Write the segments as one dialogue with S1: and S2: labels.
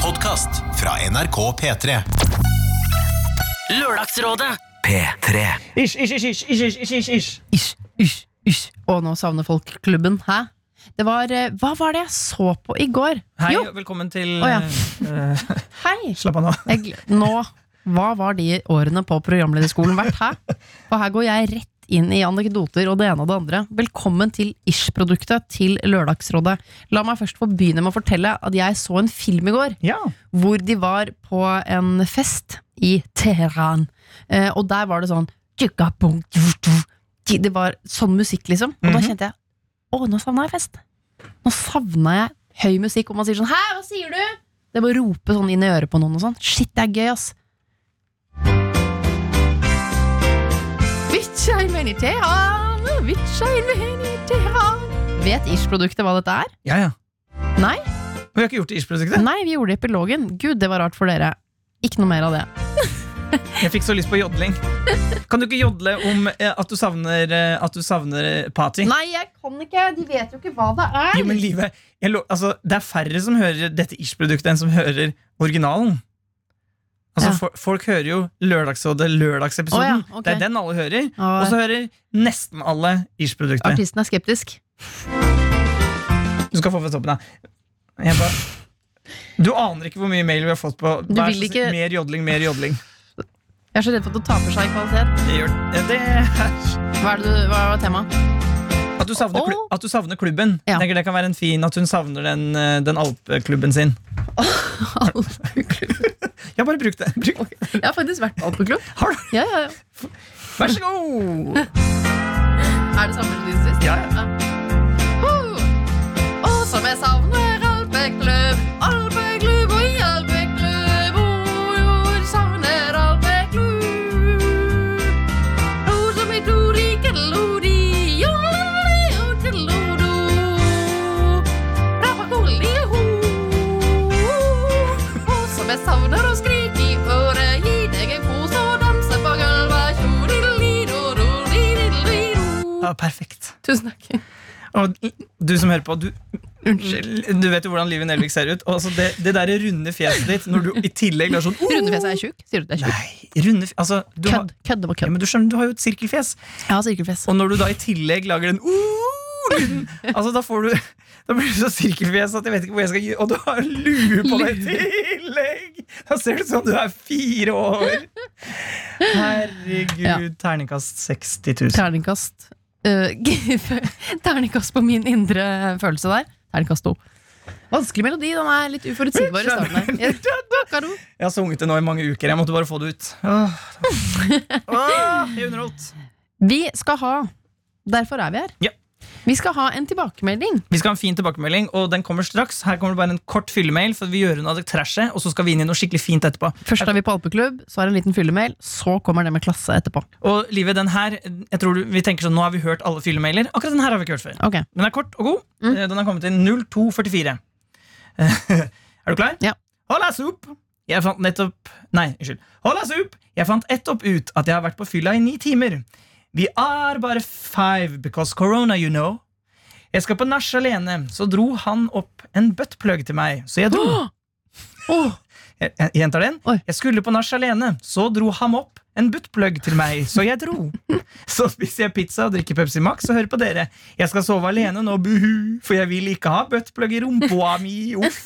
S1: podkast fra NRK P3.
S2: Lørdagsrådet.
S3: P3.
S4: Ish, ish, ish, ish, ish, ish, ish, ish.
S5: Ish, ish, ish. Og nå savner folk klubben. Hæ? Det var, eh, hva var det jeg så på i går?
S4: Hei,
S5: Jo,
S4: og velkommen til
S5: Å, ja.
S4: eh,
S5: hei!
S4: Slapp av nå.
S5: Jeg, gl- nå, hva var de årene på programlederskolen vært? Hæ? Og her går jeg rett inn i anekdoter og det ene og det andre. Velkommen til Ish-produktet til Lørdagsrådet. La meg først få begynne med å fortelle at jeg så en film i går
S4: Ja.
S5: hvor de var på en fest i Teheran. Eh, og der var det sånn tjukka-pung, tju-tju. Det var sånn musikk, liksom. Og da
S4: Mhm.
S5: kjente jeg Å, nå savna jeg fest. Nå savna jeg høy musikk, og man sier sånn Hæ, hva sier du? Det er bare å rope sånn inn i øret på noen og sånn. Shit, det er gøy, ass. Vitsa i meni Teheran, vitsa i meni Teheran. Vet Ish-produktet hva dette er?
S4: Ja, ja.
S5: Nei.
S4: Vi har ikke gjort Ish-produktet.
S5: Nei, vi gjorde det i epilogen. Gud, det var rart for dere. Ikke noe mer av det.
S4: Jeg fikk så lyst på jodling. Kan du ikke jodle om eh, at du savner, eh, at du savner eh, party?
S5: Nei, jeg kan ikke. De vet jo ikke hva det er.
S4: Jo, men livet, jeg lo, altså, det er færre som hører dette Ish-produktet enn som hører originalen. Altså,
S5: Ja.
S4: for, folk hører jo Lørdagsrådet, lørdagsepisoden.
S5: Å, ja, ok.
S4: Det er den alle hører.
S5: Ja.
S4: Og så hører nesten alle Ish-produktet.
S5: Artisten er skeptisk.
S4: Du skal få fra toppen, da. Jeg bare... Du aner ikke hvor mye mail vi har fått på
S5: Du
S4: Vær
S5: vil
S4: så snill,
S5: ikke-
S4: Mer jodling, mer jodling.
S5: Jeg er så redd for at du taper seg i kvalitet.
S4: Det gjør det er-
S5: Hva, er det du, hva var temaet?
S4: At du savner, klu-
S5: Og-
S4: at du savner klubben.
S5: Ja.
S4: Jeg tenker Det kan være en fin At hun savner den, eh, den alpeklubben sin. Ja, bare bruk det. Bruk.
S5: Jeg har faktisk vært på alpeklubb.
S4: Har du?
S5: Ja, ja, ja.
S4: Vær så god!
S5: Er det samme som din sist?
S4: Ja, ja.
S5: Ho! Og som jeg savner alpeklubb, alpeklubb og i alpeklubb. Oh, jo, jeg savner alpeklubb. Oh, som i dori, keddelodi, jolololi, oh, keddelodo. Rabakoli, ho. Og som jeg savner å skrike i øret, gi deg en kos og danse på gulvet. Tjodidelido,
S4: Ja, perfekt.
S5: Tusen takk.
S4: Og du som hører på, du, du vet jo hvordan Live Nelvik ser ut. Og altså det, det der runde fjeset ditt når du i tillegg lar sånn
S5: Rundefjeset er tjukk? Sier du det er tjukk?
S4: Nei, runde fjes altså, du, har,
S5: Kødd. Kødd over
S4: ja,
S5: kødd.
S4: men du skjønner, du har jo et sirkelfjes.
S5: Jeg har sirkelfjes.
S4: Og når du da i tillegg lager den uh-lyden, altså da får du Da blir du så sirkelfjes at jeg vet ikke hvor jeg skal gi Og du har lue på deg i tillegg! Da ser det ut som du er fire år! Herregud.
S5: Ja.
S4: Terningkast 60 000.
S5: Terningkast øh, Terningkast på min indre følelse der. Terningkast to. Vanskelig melodi. Den er litt uforutsigbar i starten. der. Jeg- Karo.
S4: Jeg har sunget det nå i mange uker. Jeg måtte bare få det ut. Åh, Åh, jeg er underholdt.
S5: Vi skal ha Derfor er vi her.
S4: Ja.
S5: Vi skal ha en tilbakemelding.
S4: Vi skal ha en fin tilbakemelding, og den kommer straks. Her kommer det bare en kort fyllemail, for vi gjør unna det trashet, og så skal vi inn i noe skikkelig fint etterpå.
S5: Først er vi på alpeklubb, så er det en liten fyllemail, så kommer det med klasse etterpå.
S4: Og livet, den her, jeg tror du- vi tenker sånn, nå har vi hørt alle fyllemailer. Akkurat den her har vi ikke hørt før.
S5: Ok,
S4: Den er kort og god. Eh, Den har kommet inn 0244. er du klar?
S5: Ja.
S4: Hola, sup! Jeg fant nettopp Nei, unnskyld. Hola, sup! Jeg fant ettopp ut at jeg har vært på fylla i ni timer. Vi er bare five because corona, you know. Jeg skal på nach alene, så dro han opp en buttplug til meg, så jeg dro.
S5: Åh,
S4: Jeg, jeg gjentar den.
S5: Oi.
S4: Jeg skulle på nach alene, så dro ham opp en buttplug til meg, så jeg dro. Så spiser jeg pizza og drikker Pepsi Max og hører på dere. Jeg skal sove alene nå, buhu, for jeg vil ikke ha buttplug i rumpa mi, uff.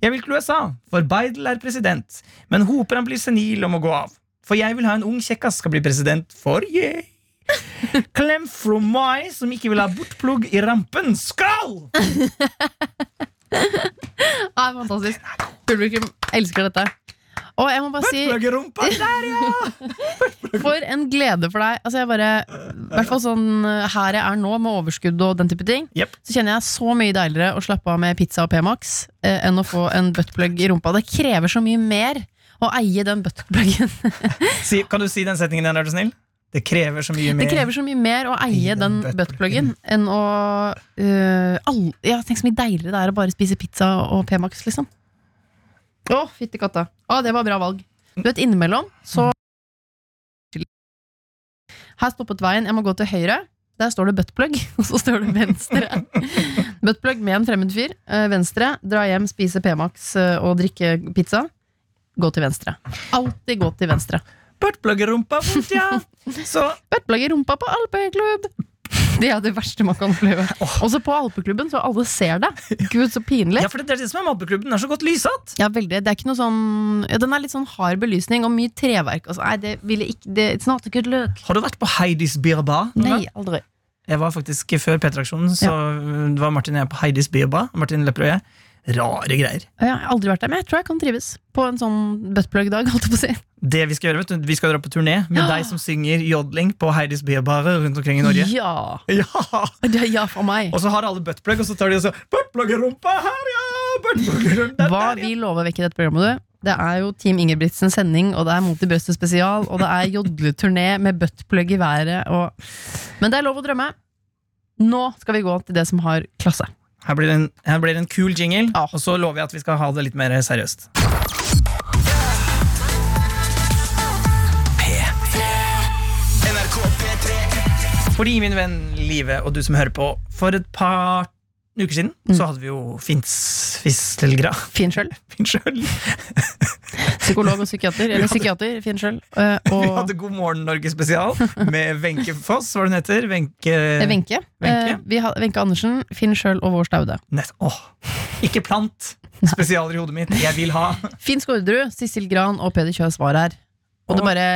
S4: Jeg vil til USA, for Bidel er president, men håper han blir senil og må gå av. For jeg vil ha en ung kjekkas skal bli president, for yeah. Klem fra meg som ikke vil ha buttplug i rampen. Skål!
S5: det er fantastisk. Publikum elsker dette. Og jeg må bare si
S4: Buttplug i rumpa, der, ja!
S5: For en glede for deg. Altså jeg bare, i hvert fall sånn eh, her jeg er nå, med overskudd og den type ting,
S4: Jepp.
S5: så kjenner jeg så mye deiligere å slappe av med pizza og P-Max eh, enn å få en buttplug i rumpa. Det krever så mye mer å eie den buttpluggen.
S4: Si, kan du si den setningen igjen, er du snill? Det krever så mye mer.
S5: Det krever så mye mer å
S4: Eie
S5: eie den
S4: den
S5: buttpluggen enn å eh, all- Ja, tenk så mye deiligere det er å bare spise pizza og P-Max, liksom. Å, fytti katta. Å, det var bra valg. Du vet, innimellom så Her stoppet veien. Jeg må gå til høyre. Der står det buttplug, og så står det venstre. buttplug med en fremmed fyr. eh, Venstre. Dra hjem, spise P-Max eh, og drikke pizza. Gå til venstre. Alltid gå til venstre.
S4: Buttpluggerumpa vondt, ja! Så
S5: Buttplug i rumpa på alpeklubb! Det er det verste man kan oppleve. Og så på alpeklubben, så alle ser det. Gud, så pinlig.
S4: Ja, for det er det som er matbeklubben. Den er så godt lysatt.
S5: Ja, veldig. Det er ikke noe sånn ja, Den er litt sånn hard belysning og mye treverk. Altså, nei, det ville ikke det, It's not a good look.
S4: Har du vært på Heidis Beer Bar? noen
S5: Nei,
S4: gang?
S5: aldri.
S4: Jeg var faktisk Før P-traksjonen Så var Martin og jeg på Heidis Beer Bar. Martin Lepperød og jeg. Rare greier.
S5: Ja, Jeg har aldri vært der, men jeg tror jeg kan trives på en sånn buttplug-dag. holdt jeg på å si.
S4: Det Vi skal gjøre, vet du, vi skal dra på turné med
S5: Ja.
S4: deg som synger jodling på Heidis Beer Barer rundt omkring i Norge.
S5: Ja.
S4: Ja!
S5: Det er ja for meg.
S4: Og så har alle buttplug, og så tar de og så Buttpluggerumpa her, ja! Buttpluggerumpa der,
S5: Hva
S4: der, ja!
S5: vi lover vekk i dette programmet, du? Det er jo Team Ingebrigtsens sending, og det er Mot i brøstet spesial, og det er jodleturné med buttplug i været og Men det er lov å drømme. Nå skal vi gå til det som har klasse.
S4: Her blir det en, her blir det en kul jingle,
S5: Ja.
S4: og så lover jeg at vi skal ha det litt mer seriøst. Fordi, min venn Live, og du som hører på, for et par uker siden
S5: Mm.
S4: så hadde vi jo Fins Fistelgra.
S5: Fin sjøl.
S4: Finn sjøl.
S5: Psykolog og psykiater. Eller psykiater, fin sjøl. Eh,
S4: Vi
S5: Og
S4: hadde God morgen Norge-spesial med Wenche Foss, hva er det hun heter. Wenche
S5: Eh, Wenche.
S4: Wenche.
S5: Eh, vi har- Wenche Andersen, Finn Schjøll og Vår Staude.
S4: Nett- Åh. Ikke plant spesialer i hodet mitt. Jeg vil ha
S5: Finn Skårderud, Sissel Gran og Peder Kjøs var her. Og det
S4: Åh.
S5: bare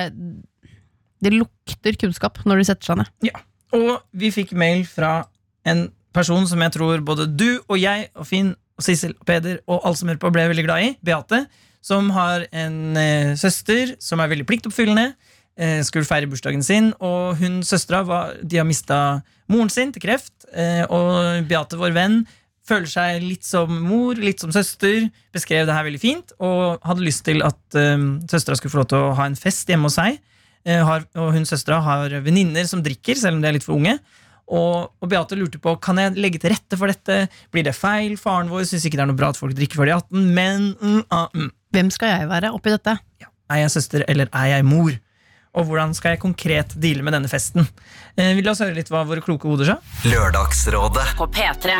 S5: Det lukter kunnskap når de setter seg ned.
S4: Og vi fikk mail fra en person som jeg tror både du og jeg og Finn og Sissel og Peder og alle som hører på, ble veldig glad i. Beate. Som har en eh, søster som er veldig pliktoppfyllende. Eh, skulle feire bursdagen sin, og hun søstera var- de har mista moren sin til kreft. Eh, og Beate, vår venn, føler seg litt som mor, litt som søster. Beskrev det her veldig fint og hadde lyst til at eh, søstera skulle få lov til å ha en fest hjemme hos seg. Eh, har, og hun søstera har venninner som drikker, selv om de er litt for unge. Og, og Beate lurte på kan jeg legge til rette for dette. Blir det feil? Faren vår syns ikke det er noe bra at folk drikker før de er 18. Men mm, ah, mm.
S5: Hvem skal jeg være oppi dette?
S4: er jeg søster eller er jeg mor? Og hvordan skal jeg konkret deale med denne festen? Eh, vil La oss høre litt hva våre kloke hoder sa.
S2: Lørdagsrådet
S3: På P3.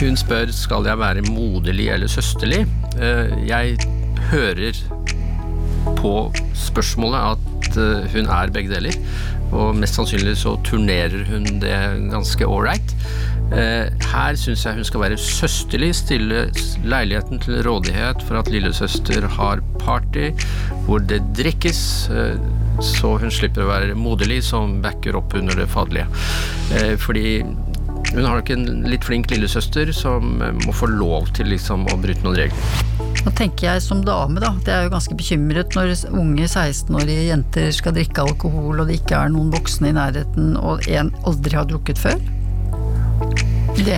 S6: Hun spør skal jeg være moderlig eller søsterlig. Eh, Jeg hører på spørsmålet at eh, hun er begge deler, og mest sannsynlig så turnerer hun det ganske ålreit. Her syns jeg hun skal være søsterlig, stille s- leiligheten til rådighet for at lillesøster har party hvor det drikkes, eh, så hun slipper å være moderlig som backer opp under det faderlige. Eh, Fordi hun har nok en litt flink lillesøster som eh, må få lov til liksom å bryte noen regler.
S7: Da tenker jeg som dame, da, at jeg er jo ganske bekymret når unge 16-årige jenter skal drikke alkohol, og det ikke er noen voksne i nærheten, og en aldri har drukket før. Det,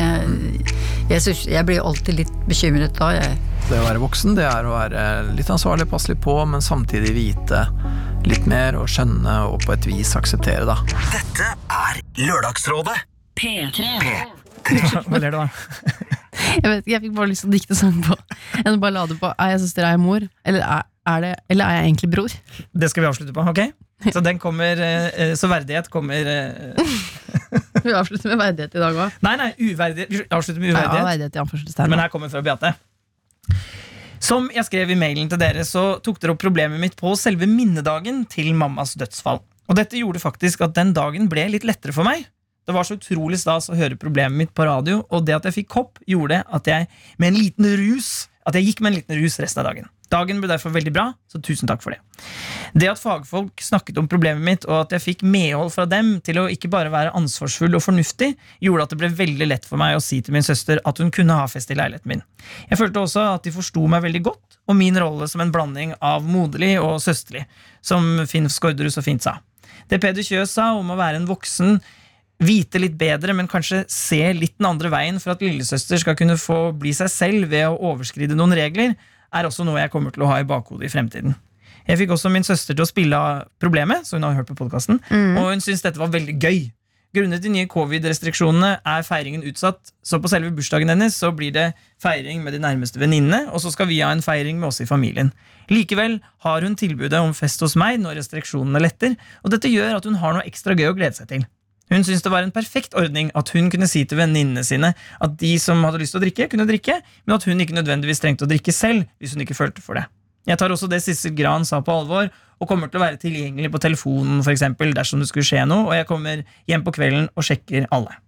S7: jeg, synes, jeg blir alltid litt bekymret da, jeg.
S8: Det å være voksen, det er å være litt ansvarlig, passe litt på, men samtidig vite litt mer og skjønne og på et vis akseptere, da.
S2: Dette er Lørdagsrådet
S3: P3.
S4: Hva ler du av?
S5: Jeg vet ikke, jeg fikk bare lyst til å dikte sang på en ballade på Er jeg søster, er jeg mor? Eller er, er, det, eller er jeg egentlig bror?
S4: Det skal vi avslutte på, ok? Så, den kommer, eh, eh, så verdighet kommer eh,
S5: Vi avslutter med verdighet i dag òg.
S4: Nei, nei, uverdighet. Vi avslutter med
S5: Ja,
S4: uverdighet.
S5: verdighet i anførselstegn.
S4: Men her kommer fra Beate. Som jeg skrev i mailen til dere, så tok dere opp problemet mitt på selve minnedagen til mammas dødsfall. Og dette gjorde faktisk at den dagen ble litt lettere for meg. Det var så utrolig stas å høre problemet mitt på radio, og det at jeg fikk kopp, gjorde at jeg, med en liten rus, at jeg gikk med en liten rus resten av dagen. Dagen ble derfor veldig bra, så tusen takk for det. Det at fagfolk snakket om problemet mitt, og at jeg fikk medhold fra dem til å ikke bare være ansvarsfull og fornuftig, gjorde at det ble veldig lett for meg å si til min søster at hun kunne ha fest i leiligheten min. Jeg følte også at de forsto meg veldig godt, og min rolle som en blanding av moderlig og søsterlig, som Finn Skårderud så fint sa. Det Peder Kjøs sa om å være en voksen vite litt bedre, men kanskje se litt den andre veien for at lillesøster skal kunne få bli seg selv ved å overskride noen regler, er også noe jeg kommer til å ha i bakhodet i fremtiden. Jeg fikk også min søster til å spille av problemet, så hun har hørt på podcasten, og hun syntes dette var veldig gøy. Grunnet de nye covid-restriksjonene er feiringen utsatt, så på selve bursdagen hennes så blir det feiring med de nærmeste venninnene, og så skal vi ha en feiring med oss i familien. Likevel har hun tilbudet om fest hos meg når restriksjonene letter, og dette gjør at hun har noe ekstra gøy å glede seg til. Hun syntes det var en perfekt ordning at hun kunne si til venninnene sine at de som hadde lyst til å drikke, kunne drikke, men at hun ikke nødvendigvis trengte å drikke selv hvis hun ikke følte for det. Jeg tar også det Sissel Gran sa på alvor, og kommer til å være tilgjengelig på telefonen for eksempel, dersom det skulle skje noe, og jeg kommer hjem på kvelden og sjekker alle.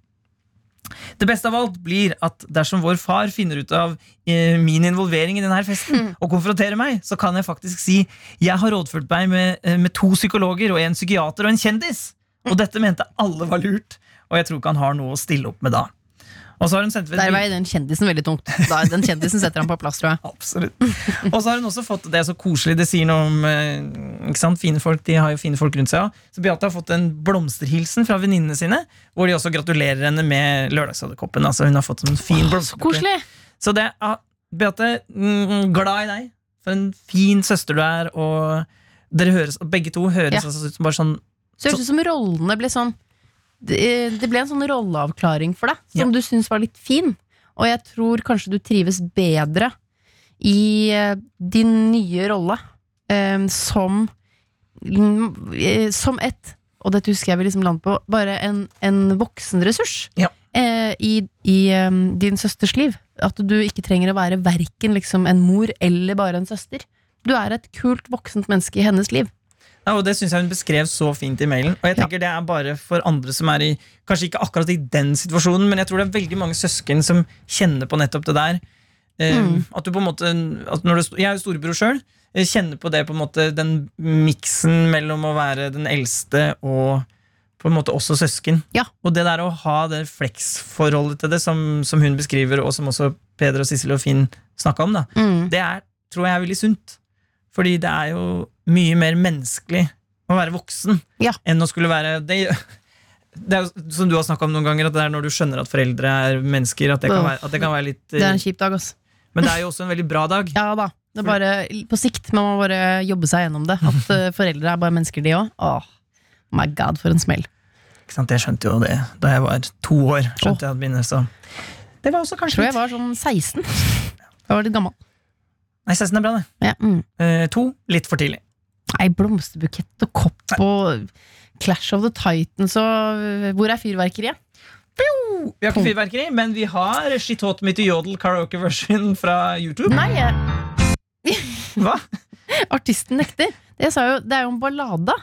S4: Det beste av alt blir at dersom vår far finner ut av eh, min involvering i denne festen, og konfronterer meg, så kan jeg faktisk si jeg har rådført meg med, eh, med to psykologer og en psykiater og en kjendis. Og dette mente alle var lurt, og jeg tror ikke han har noe å stille opp med da. Og så har hun sendt
S5: Der veier den kjendisen veldig tungt. Da, den kjendisen setter han på plass, tror jeg.
S4: Absolutt. Og så har hun også fått det er så koselig det sier noe om eh, ikke sant? fine folk. De har jo fine folk rundt seg. ja. Så Beate har fått en blomsterhilsen fra venninnene sine, hvor de også gratulerer henne med Lørdagsrådekoppen. Altså, hun har fått en fin blomsterkopp.
S5: Koselig!
S4: Så det ja, Beate, mm, glad i deg. For en fin søster du er. Og dere høres, og begge to høres
S5: Ja.
S4: altså ut som bare sånn
S5: Så det høres ut som rollene ble sånn Det det ble en sånn rolleavklaring for deg, som du syns var litt fin. Og jeg tror kanskje du trives bedre i eh, din nye rolle eh, som mm, eh, Som et Og dette husker jeg vi liksom landet på. Bare en, en voksenressurs
S4: Ja.
S5: eh, i, i eh, din søsters liv. At du ikke trenger å være verken liksom en mor eller bare en søster. Du er et kult voksent menneske i hennes liv.
S4: Ja, og Det syns jeg hun beskrev så fint i mailen. Og jeg tenker Det er bare for andre som er i Kanskje ikke akkurat i den situasjonen, men jeg tror det er veldig mange søsken som kjenner på nettopp det der. Eh, At du på en måte at når du, sto- Jeg er jo storebror sjøl. Kjenner på det på en måte den miksen mellom å være den eldste og på en måte også søsken.
S5: Ja.
S4: Og det der å ha det fleksforholdet til det, som, som hun beskriver, og som også Peder og Sissel og Finn snakka om, da, det er, tror jeg er veldig sunt. Fordi det er jo mye mer menneskelig å være voksen
S5: Ja.
S4: enn å skulle være det, det er jo som du har snakka om noen ganger, at det er når du skjønner at foreldre er mennesker, at det kan
S5: Åh.
S4: være, at det kan være litt
S5: Det er
S4: eh,
S5: en kjip dag, ass.
S4: Men det er jo også en veldig bra dag.
S5: Ja da. Det er bare på sikt. Man må bare jobbe seg gjennom det. At eh, foreldre er bare mennesker, de òg. Oh my god, for en smell.
S4: Ikke sant? Jeg skjønte jo det da jeg var to år.
S5: Åh.
S4: Skjønte jeg at mine, så. Det var også
S5: Jeg
S4: kanskje
S5: tror jeg
S4: litt
S5: var sånn 16. Jeg var litt gammel.
S4: Nei, 16 er bra, det.
S5: Ja, mm.
S4: Eh, to, litt for tidlig.
S5: Nei, blomsterbukett og kopp og Clash of the Titans og eh, Hvor er fyrverkeriet?
S4: Vi har ikke fyrverkeri, men vi har Shit Hot Mitt i Jodel karaoke-version fra YouTube.
S5: Nei, eh,
S4: Hva?
S5: artisten nekter. Jeg sa jo, det er jo en ballade.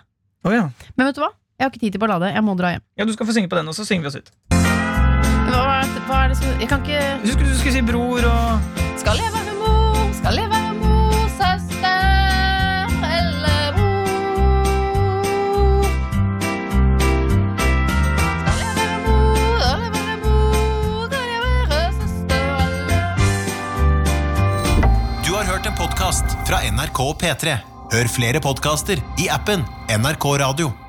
S4: Å ja.
S5: Men vet du hva? Jeg har ikke tid til ballade. Jeg må dra hjem.
S4: ja, du skal få synge på den, og så synger vi oss ut.
S5: Hva er det, hva er det som Jeg kan ikke
S4: Du skulle, du skulle si bror og
S9: Skal jeg være mor, skal jeg være mor, søster eller bror? Skal jeg være mor, skal jeg være mor, skal jeg være søster eller
S1: Du har hørt en podcast fra NRK P3. Hør flere podcaster i appen NRK Radio.